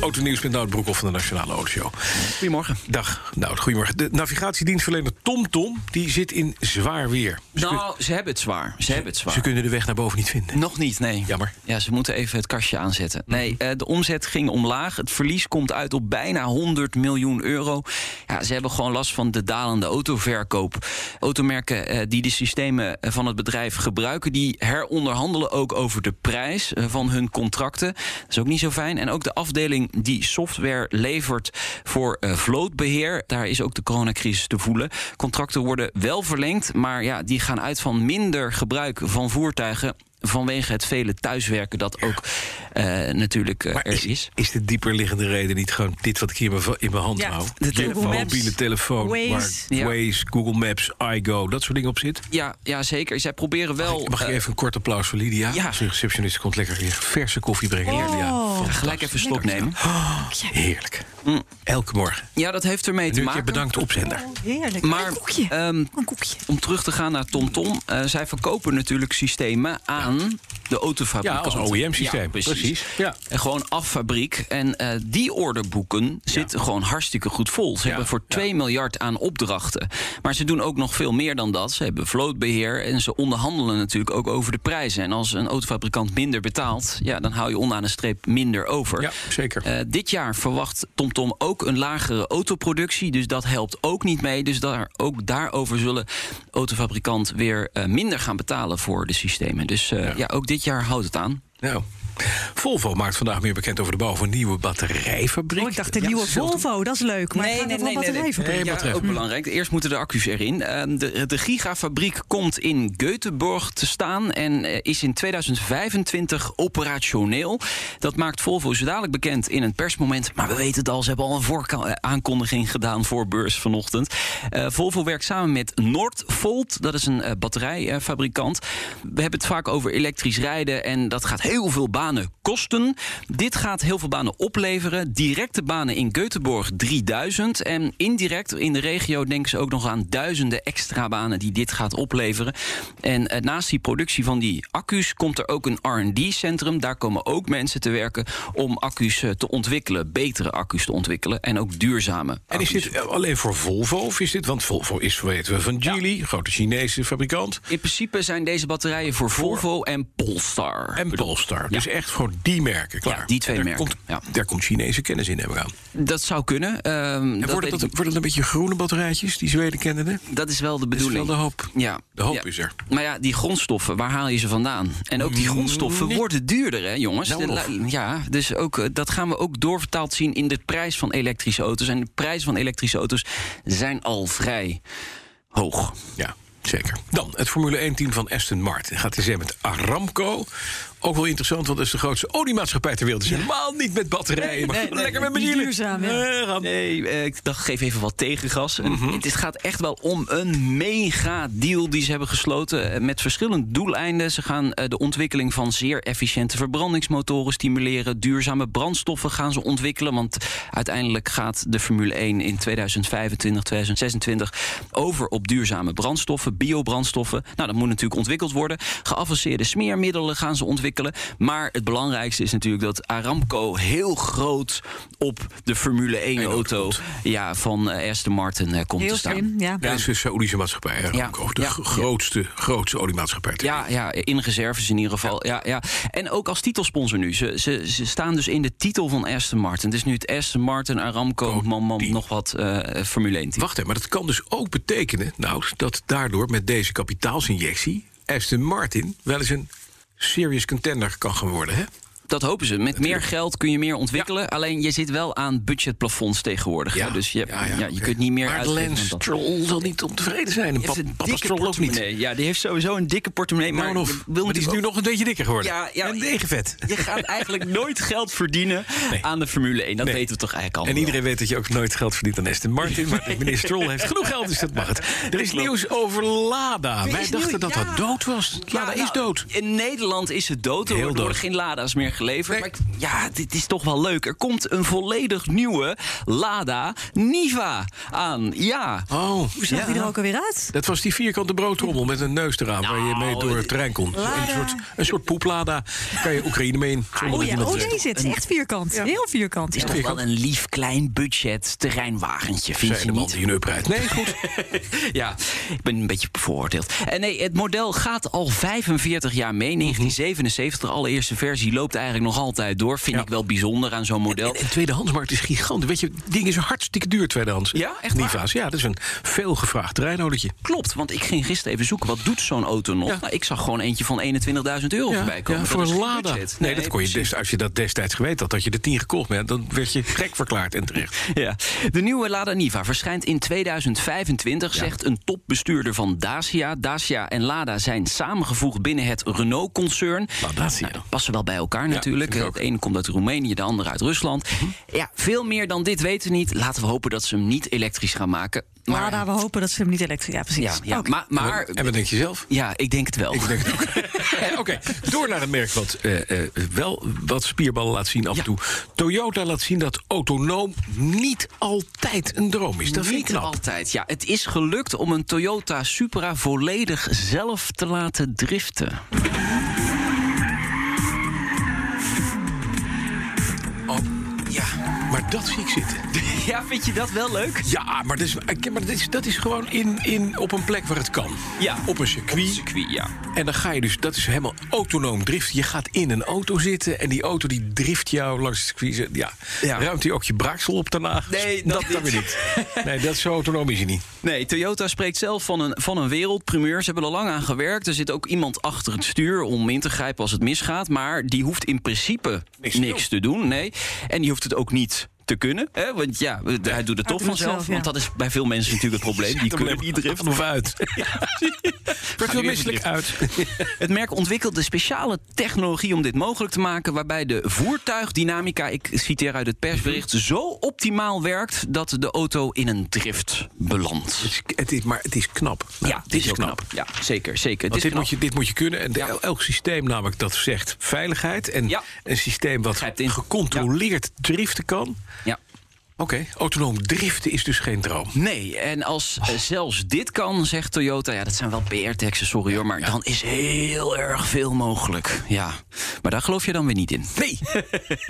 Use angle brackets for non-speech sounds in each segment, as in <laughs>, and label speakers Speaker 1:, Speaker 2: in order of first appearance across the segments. Speaker 1: Autonieuws met Nout Broekhoff van de Nationale Autoshow.
Speaker 2: Goedemorgen.
Speaker 1: Dag, Nout. Goedemorgen. De navigatiedienstverlener TomTom die zit in zwaar weer. Ze, kun-
Speaker 3: Nou, ze hebben het zwaar. Ze hebben het zwaar.
Speaker 1: ze kunnen de weg naar boven niet vinden.
Speaker 3: Nog niet, nee.
Speaker 1: Jammer.
Speaker 3: Ja, ze moeten even het kastje aanzetten. Nee, eh, de omzet ging omlaag. Het verlies komt uit op bijna 100 miljoen euro. Ja, ze hebben gewoon last van de dalende autoverkoop. Automerken eh, die de systemen eh, van het bedrijf gebruiken... die heronderhandelen ook over de prijs eh, van hun contracten. Dat is ook niet zo fijn. En ook de afdeling die software levert voor eh, vlootbeheer... daar is ook de coronacrisis te voelen. Contracten worden wel verlengd, maar ja, die gaan uit van minder gebruik van voertuigen vanwege het vele thuiswerken dat ook eh, natuurlijk eh,
Speaker 1: Maar
Speaker 3: er
Speaker 1: is,
Speaker 3: is.
Speaker 1: is. de dieperliggende reden niet gewoon dit wat ik hier in mijn- in mijn hand
Speaker 4: Ja,
Speaker 1: hou?
Speaker 3: de
Speaker 1: telefoon,
Speaker 4: Google Maps,
Speaker 1: mobiele telefoon,
Speaker 4: Waze.
Speaker 1: waar
Speaker 3: Ja.
Speaker 1: Waze, Google Maps, iGo, dat soort dingen op zit.
Speaker 3: Ja, ja, zeker. Zij proberen wel...
Speaker 1: Mag ik
Speaker 3: eh,
Speaker 1: even een kort applaus voor Lydia?
Speaker 3: Ja. Oh.
Speaker 1: Onze receptionist komt lekker weer verse koffie brengen.
Speaker 3: ja,
Speaker 1: Heerlijk.
Speaker 3: eh, gelijk even een slok nemen.
Speaker 1: Heerlijk. Elke morgen.
Speaker 3: Ja, dat heeft ermee Mm. te
Speaker 1: Nu een keer
Speaker 3: maken.
Speaker 1: bedankt opzender.
Speaker 4: Heerlijk.
Speaker 3: Maar
Speaker 5: koekje.
Speaker 3: ehm,
Speaker 5: Een koekje.
Speaker 3: om terug te gaan naar TomTom. eh, zij verkopen natuurlijk systemen aan de
Speaker 1: Ja,
Speaker 3: autofabrikanten.
Speaker 1: als OEM-systeem.
Speaker 3: Ja, precies.
Speaker 1: Precies, ja.
Speaker 3: En gewoon af fabriek. En eh, die orderboeken zitten gewoon hartstikke goed vol. Ze hebben voor
Speaker 1: ja.
Speaker 3: 2 miljard aan opdrachten. Maar ze doen ook nog veel meer dan dat. Ze hebben vlootbeheer en ze onderhandelen natuurlijk ook over de prijzen. En als een autofabrikant minder betaalt, ja, dan hou je onderaan de streep minder over.
Speaker 1: Ja, zeker.
Speaker 3: Eh, dit jaar verwacht TomTom ook een lagere autoproductie. Dus dat helpt ook niet mee. Dus daar, ook daarover zullen autofabrikant weer eh, minder gaan betalen voor de systemen. Dus eh, ja. ook dit jaar houdt het aan.
Speaker 1: Nou, Volvo maakt vandaag meer bekend over de bouw van een nieuwe batterijfabriek.
Speaker 4: Oh, ik dacht, de nieuwe Volvo, dat is leuk. Maar het gaat over een batterijfabriek.
Speaker 1: nee.
Speaker 3: Ja,
Speaker 1: wat treft.
Speaker 3: ook belangrijk. Eerst moeten de accu's erin. Eh, De, de gigafabriek komt in Göteborg te staan en eh, is in 2025 operationeel. Dat maakt Volvo zo dadelijk bekend in een persmoment. Maar we weten het al, ze hebben al een vooraankondiging gedaan voor beurs vanochtend. Eh, Volvo werkt samen met Noordvolt, dat is een eh, batterijfabrikant. We hebben het vaak over elektrisch rijden en dat gaat heel veel banen kosten. Dit gaat heel veel banen opleveren. Directe banen in Göteborg 3000. En indirect in de regio denken ze ook nog aan duizenden extra banen die dit gaat opleveren. En eh, naast die productie van die accu's komt er ook een RD-centrum. Daar komen ook mensen te werken om accu's eh, te ontwikkelen, betere accu's te ontwikkelen en ook duurzame.
Speaker 1: En is dit eh, alleen voor Volvo? Of is dit, want Volvo is, weten we, van Geely, grote Chinese fabrikant.
Speaker 3: In principe zijn deze batterijen voor Volvo en Polestar.
Speaker 1: En Polestar. Dus echt gewoon die merken, klaar.
Speaker 3: die twee
Speaker 1: En daar
Speaker 3: merken,
Speaker 1: Komt,
Speaker 3: ja.
Speaker 1: Daar komt Chinese kennis in, hebben we aan.
Speaker 3: Dat zou kunnen. ehm,
Speaker 1: En
Speaker 3: dat
Speaker 1: worden
Speaker 3: weet
Speaker 1: dat,
Speaker 3: ik
Speaker 1: wordt het een beetje groene batterijtjes, die Zweden kennende?
Speaker 3: Dat is wel de
Speaker 1: Dat is
Speaker 3: bedoeling.
Speaker 1: wel de hoop.
Speaker 3: Ja.
Speaker 1: De hoop
Speaker 3: Ja.
Speaker 1: is er.
Speaker 3: Maar ja, die grondstoffen, waar haal je ze vandaan? En ook die grondstoffen worden duurder, hè, jongens?
Speaker 1: Nou
Speaker 3: De
Speaker 1: Mm, nog.
Speaker 3: lu- ja, dus ook, eh, dat gaan we ook doorvertaald zien in de prijs van elektrische auto's. En de prijs van elektrische auto's zijn al vrij hoog.
Speaker 1: Ja, zeker. Dan het Formule 1-team van Aston Martin. Gaat in zee met Aramco. Ook wel interessant, want dat is de grootste oliemaatschappij ter wereld. Dus helemaal niet met batterijen, maar
Speaker 3: nee, nee,
Speaker 1: lekker met
Speaker 4: die
Speaker 1: benzine.
Speaker 4: duurzaam, ja.
Speaker 1: Eh, Ram- Mhm.
Speaker 3: Nee, eh, ik dacht, geef even wat tegengas. En Het gaat echt wel om een mega deal die ze hebben gesloten. eh, Met verschillende doeleinden. Ze gaan eh, de ontwikkeling van zeer efficiënte verbrandingsmotoren stimuleren. Duurzame brandstoffen gaan ze ontwikkelen. Want uiteindelijk gaat de Formule 1 in 2025, 2026 over op duurzame brandstoffen, biobrandstoffen. Nou, dat moet natuurlijk ontwikkeld worden. Geavanceerde smeermiddelen gaan ze ontwikkelen. Maar het belangrijkste is natuurlijk dat Aramco heel groot op de Formule 1 auto ja, van eh, Aston Martin eh, komt
Speaker 4: Heel
Speaker 3: te staan.
Speaker 4: slim, ja.
Speaker 1: Ja, dat is de Saoedische maatschappij, Aramco.
Speaker 3: Ja,
Speaker 1: De
Speaker 3: ja,
Speaker 1: gro-
Speaker 3: ja.
Speaker 1: grootste, grootste oliemaatschappij ter
Speaker 3: Ja, ja, in reserves in ieder geval. Ja. Ja, En ook als titelsponsor nu. Ze, ze, ze staan dus in de titel van Aston Martin. Dus nu het Aston Martin, Aramco, man, man,
Speaker 1: team.
Speaker 3: nog wat eh, Formule 1 team.
Speaker 1: Wacht even, maar dat kan dus ook betekenen, nou, dat daardoor met deze kapitaalsinjectie Aston Martin wel eens een serious contender kan gaan worden, hè?
Speaker 3: dat hopen ze. Met meer geld kun je meer ontwikkelen. Alleen je zit wel aan budgetplafonds tegenwoordig. hè.
Speaker 1: Ja,
Speaker 3: Dus je, hebt-
Speaker 1: ja, ja,
Speaker 3: ja, je
Speaker 1: oké.
Speaker 3: kunt niet meer
Speaker 1: Maar
Speaker 3: uitgeven dan
Speaker 1: Lance
Speaker 3: dat.
Speaker 1: Stroll zal niet ontevreden zijn. En
Speaker 3: Die heeft
Speaker 1: pap,
Speaker 3: een
Speaker 1: papa
Speaker 3: dikke
Speaker 1: Stroll ook niet.
Speaker 3: portemonnee. Ja, die heeft sowieso een dikke portemonnee. Maar,
Speaker 1: Maar,
Speaker 3: wil
Speaker 1: of, maar die is nu
Speaker 3: natuurlijk
Speaker 1: nog een beetje dikker geworden.
Speaker 3: Ja, ja.
Speaker 1: en degenvet.
Speaker 3: ook- <laughs> Je gaat eigenlijk nooit geld verdienen aan de Formule 1. Dat
Speaker 1: Nee.
Speaker 3: weten we toch eigenlijk al.
Speaker 1: En iedereen weet dat je ook nooit geld verdient aan Aston Martin. Maar meneer Stroll heeft genoeg geld, dus dat mag het. Er is nieuws over Lada. Wij
Speaker 3: is
Speaker 1: dachten dat
Speaker 3: nieuws? Ja. nou,
Speaker 1: dat dood was. Lada is dood.
Speaker 3: In Nederland is het dood. Er
Speaker 1: Heel
Speaker 3: worden
Speaker 1: dood.
Speaker 3: geen Lada's meer geleverd.
Speaker 1: Nee.
Speaker 3: Maar ik- ja, dit is toch wel leuk. Er komt een volledig nieuwe Lada Niva aan. Ja.
Speaker 1: Oh,
Speaker 4: Hoe zag die er ook alweer uit?
Speaker 1: dat was die vierkante broodtrommel met een neus eraan... waar je mee door het terrein kon. Dus Een soort, een soort poeplada. Kan je Oekraïne mee in. zonder
Speaker 4: Oh
Speaker 1: dat
Speaker 4: ja,
Speaker 1: iemand eh,
Speaker 4: oh
Speaker 1: het weet.
Speaker 4: deze, het is echt vierkant. Heel vierkant.
Speaker 3: Het is toch wel een lief klein budget terreinwagentje, vind
Speaker 1: Zei
Speaker 3: je
Speaker 1: de man
Speaker 3: niet?
Speaker 1: die een up rijdt. Nee, goed.
Speaker 3: Ja, ik ben een beetje bevooroordeeld. En nee, het model gaat al 45 jaar mee. 1977, allereerste versie, loopt eigenlijk nog altijd door. Vind ik wel bijzonder aan zo'n model.
Speaker 1: En de tweedehandsmarkt is gigantisch. Weet je, het ding is hartstikke duur, tweedehands.
Speaker 3: Ja, echt waar?
Speaker 1: Niva's, ja, dat is een veelgevraagd terreinodertje.
Speaker 3: Klopt, want ik ging gisteren even zoeken. Wat doet zo'n auto nog?
Speaker 1: Ja.
Speaker 3: Nou, ik zag gewoon eentje van 21.000 euro voorbij komen. Dat
Speaker 1: voor
Speaker 3: is
Speaker 1: een
Speaker 3: geen
Speaker 1: Lada. Nee,
Speaker 3: budget.
Speaker 1: dat kon je
Speaker 3: precies.
Speaker 1: des, als je dat destijds geweten had, dat je de 10 gekocht bent, dan werd je gek verklaard en terecht.
Speaker 3: Ja. De nieuwe Lada Niva verschijnt in 2025, zegt een topbestuurder van Dacia. Dacia en Lada zijn samengevoegd binnen het Renault-concern.
Speaker 1: Nou, dat zie je dan.
Speaker 3: Passen wel bij elkaar natuurlijk.
Speaker 1: vind ik ook. Mhm.
Speaker 3: Het ene komt uit Roemenië, de andere uit Rusland. Ja, veel meer dan dit weten we niet. Laten we hopen dat ze hem niet elektrisch gaan maken. Maar,
Speaker 4: Maar we hopen dat ze hem niet elektrisch... Ja, precies.
Speaker 3: ja, ja,
Speaker 4: Oké.
Speaker 3: maar, maar
Speaker 1: en wat denk je
Speaker 3: <laughs>
Speaker 1: zelf?
Speaker 3: ja, ik denk het wel.
Speaker 1: Ik denk het ook. Oké, door naar een merk wat eh, eh, wel wat spierballen laat zien af en
Speaker 3: Ja.
Speaker 1: toe. Toyota laat zien dat autonoom niet altijd een droom is. Dat vind ik
Speaker 3: Niet
Speaker 1: knap.
Speaker 3: altijd. Ja, het is gelukt om een Toyota Supra volledig zelf te laten driften.
Speaker 1: Oh, ja. Maar dat zie ik zitten.
Speaker 3: Ja, vind je dat wel leuk?
Speaker 1: Ja, maar, dat is, ik- maar dat, is, dat is gewoon in, in, op een plek waar het kan.
Speaker 3: Ja.
Speaker 1: Op een circuit.
Speaker 3: Circuit, ja.
Speaker 1: En dan ga je dus, dat is helemaal autonoom driften. Je gaat in een auto zitten en die auto die drift jou langs het circuit. Ja.
Speaker 3: Ja.
Speaker 1: Ruimt hij ook je braaksel op daarna? Dus
Speaker 3: Nee, dat
Speaker 1: dan
Speaker 3: niet.
Speaker 1: weer niet. <laughs> Nee, dat zo autonoom is hij niet.
Speaker 3: Nee, Toyota spreekt zelf van een, van een wereldprimeur. Ze hebben er lang aan gewerkt. Er zit ook iemand achter het stuur om in te grijpen als het misgaat. Maar die hoeft in principe
Speaker 1: Niks
Speaker 3: niks,
Speaker 1: te
Speaker 3: te doen. Nee. En die hoeft het ook niet te kunnen. Hè? Want ja, hij doet het toch
Speaker 4: doet het
Speaker 3: vanzelf.
Speaker 4: zelf, ja.
Speaker 3: Want dat is bij veel mensen natuurlijk het probleem. Die kunnen niet driften.
Speaker 1: of uit. Wordt wel
Speaker 3: even
Speaker 1: misselijk uit.
Speaker 3: Het merk ontwikkelde speciale technologie om dit mogelijk te maken, waarbij de voertuigdynamica, ik citeer uit het persbericht, zo optimaal werkt dat de auto in een drift belandt.
Speaker 1: Het is, maar het is knap. Nou,
Speaker 3: Ja, dit is knap. Ja, zeker, zeker.
Speaker 1: Want
Speaker 3: is
Speaker 1: dit moet, je,
Speaker 3: knap.
Speaker 1: dit moet je kunnen. En de-
Speaker 3: Ja.
Speaker 1: elk systeem namelijk dat zegt veiligheid. En
Speaker 3: Ja.
Speaker 1: een systeem wat
Speaker 3: Grijpt in.
Speaker 1: gecontroleerd driften kan.
Speaker 3: Ja.
Speaker 1: Oké, autonoom driften is dus geen droom.
Speaker 3: Nee, en als eh, zelfs dit kan, zegt Toyota, ja, dat zijn wel PR-teksten, sorry hoor, maar dan is heel erg veel mogelijk. Ja, maar daar geloof je dan weer niet in.
Speaker 1: Nee.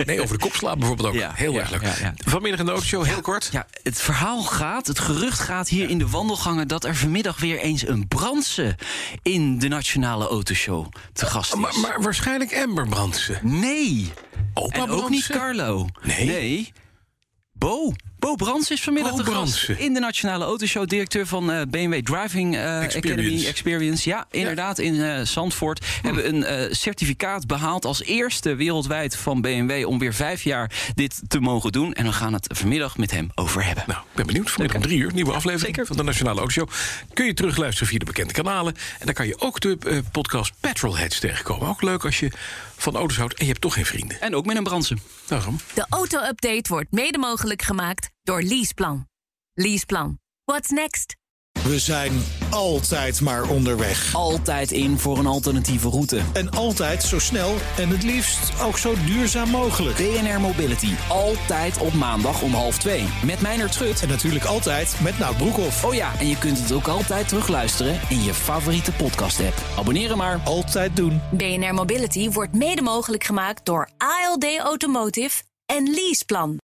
Speaker 1: nee, over de kop slaan bijvoorbeeld ook.
Speaker 3: Ja,
Speaker 1: heel
Speaker 3: ja,
Speaker 1: erg leuk.
Speaker 3: ja, ja.
Speaker 1: Vanmiddag in de autoshow, heel kort.
Speaker 3: Ja, het verhaal gaat, het gerucht gaat hier in de wandelgangen... dat er vanmiddag weer eens een brandse in de Nationale Autoshow te gast is.
Speaker 1: Maar, maar waarschijnlijk Amber Brandsen.
Speaker 3: nee,
Speaker 1: Opa
Speaker 3: en ook
Speaker 1: Brandsen?
Speaker 3: niet Carlo.
Speaker 1: Nee.
Speaker 3: Bo. Bo Brands is vanmiddag
Speaker 1: Bo
Speaker 3: te gast
Speaker 1: Brandsen.
Speaker 3: in de Nationale Autoshow. Directeur van eh, BMW Driving eh,
Speaker 1: Experience.
Speaker 3: Academy Experience. Ja, inderdaad, in eh, Zandvoort.
Speaker 1: Hm.
Speaker 3: Hebben een eh, certificaat behaald als eerste wereldwijd van BMW... om weer vijf jaar dit te mogen doen. En we gaan het vanmiddag met hem over hebben.
Speaker 1: Nou, ik ben benieuwd. Vanmiddag om drie uur, nieuwe aflevering van de Nationale Autoshow. Kun je terugluisteren via de bekende kanalen. En dan kan je ook de eh, podcast Petrolheads tegenkomen. Ook leuk als je van auto's houdt en je hebt toch geen vrienden.
Speaker 3: En ook met een Bransen.
Speaker 1: Daarom.
Speaker 5: De auto-update wordt mede mogelijk gemaakt door Leaseplan. Leaseplan. What's next?
Speaker 6: We zijn altijd maar onderweg.
Speaker 3: Altijd in voor een alternatieve route.
Speaker 6: En altijd zo snel en het liefst ook zo duurzaam mogelijk.
Speaker 3: BNR Mobility. Altijd op maandag om half twee. Met Meijner Trut.
Speaker 6: En natuurlijk altijd met Nout Broekhoff.
Speaker 3: Oh ja, en je kunt het ook altijd terugluisteren in je favoriete podcast-app. Abonneren maar.
Speaker 6: Altijd doen.
Speaker 5: BNR Mobility wordt mede mogelijk gemaakt door ALD Automotive en Leaseplan.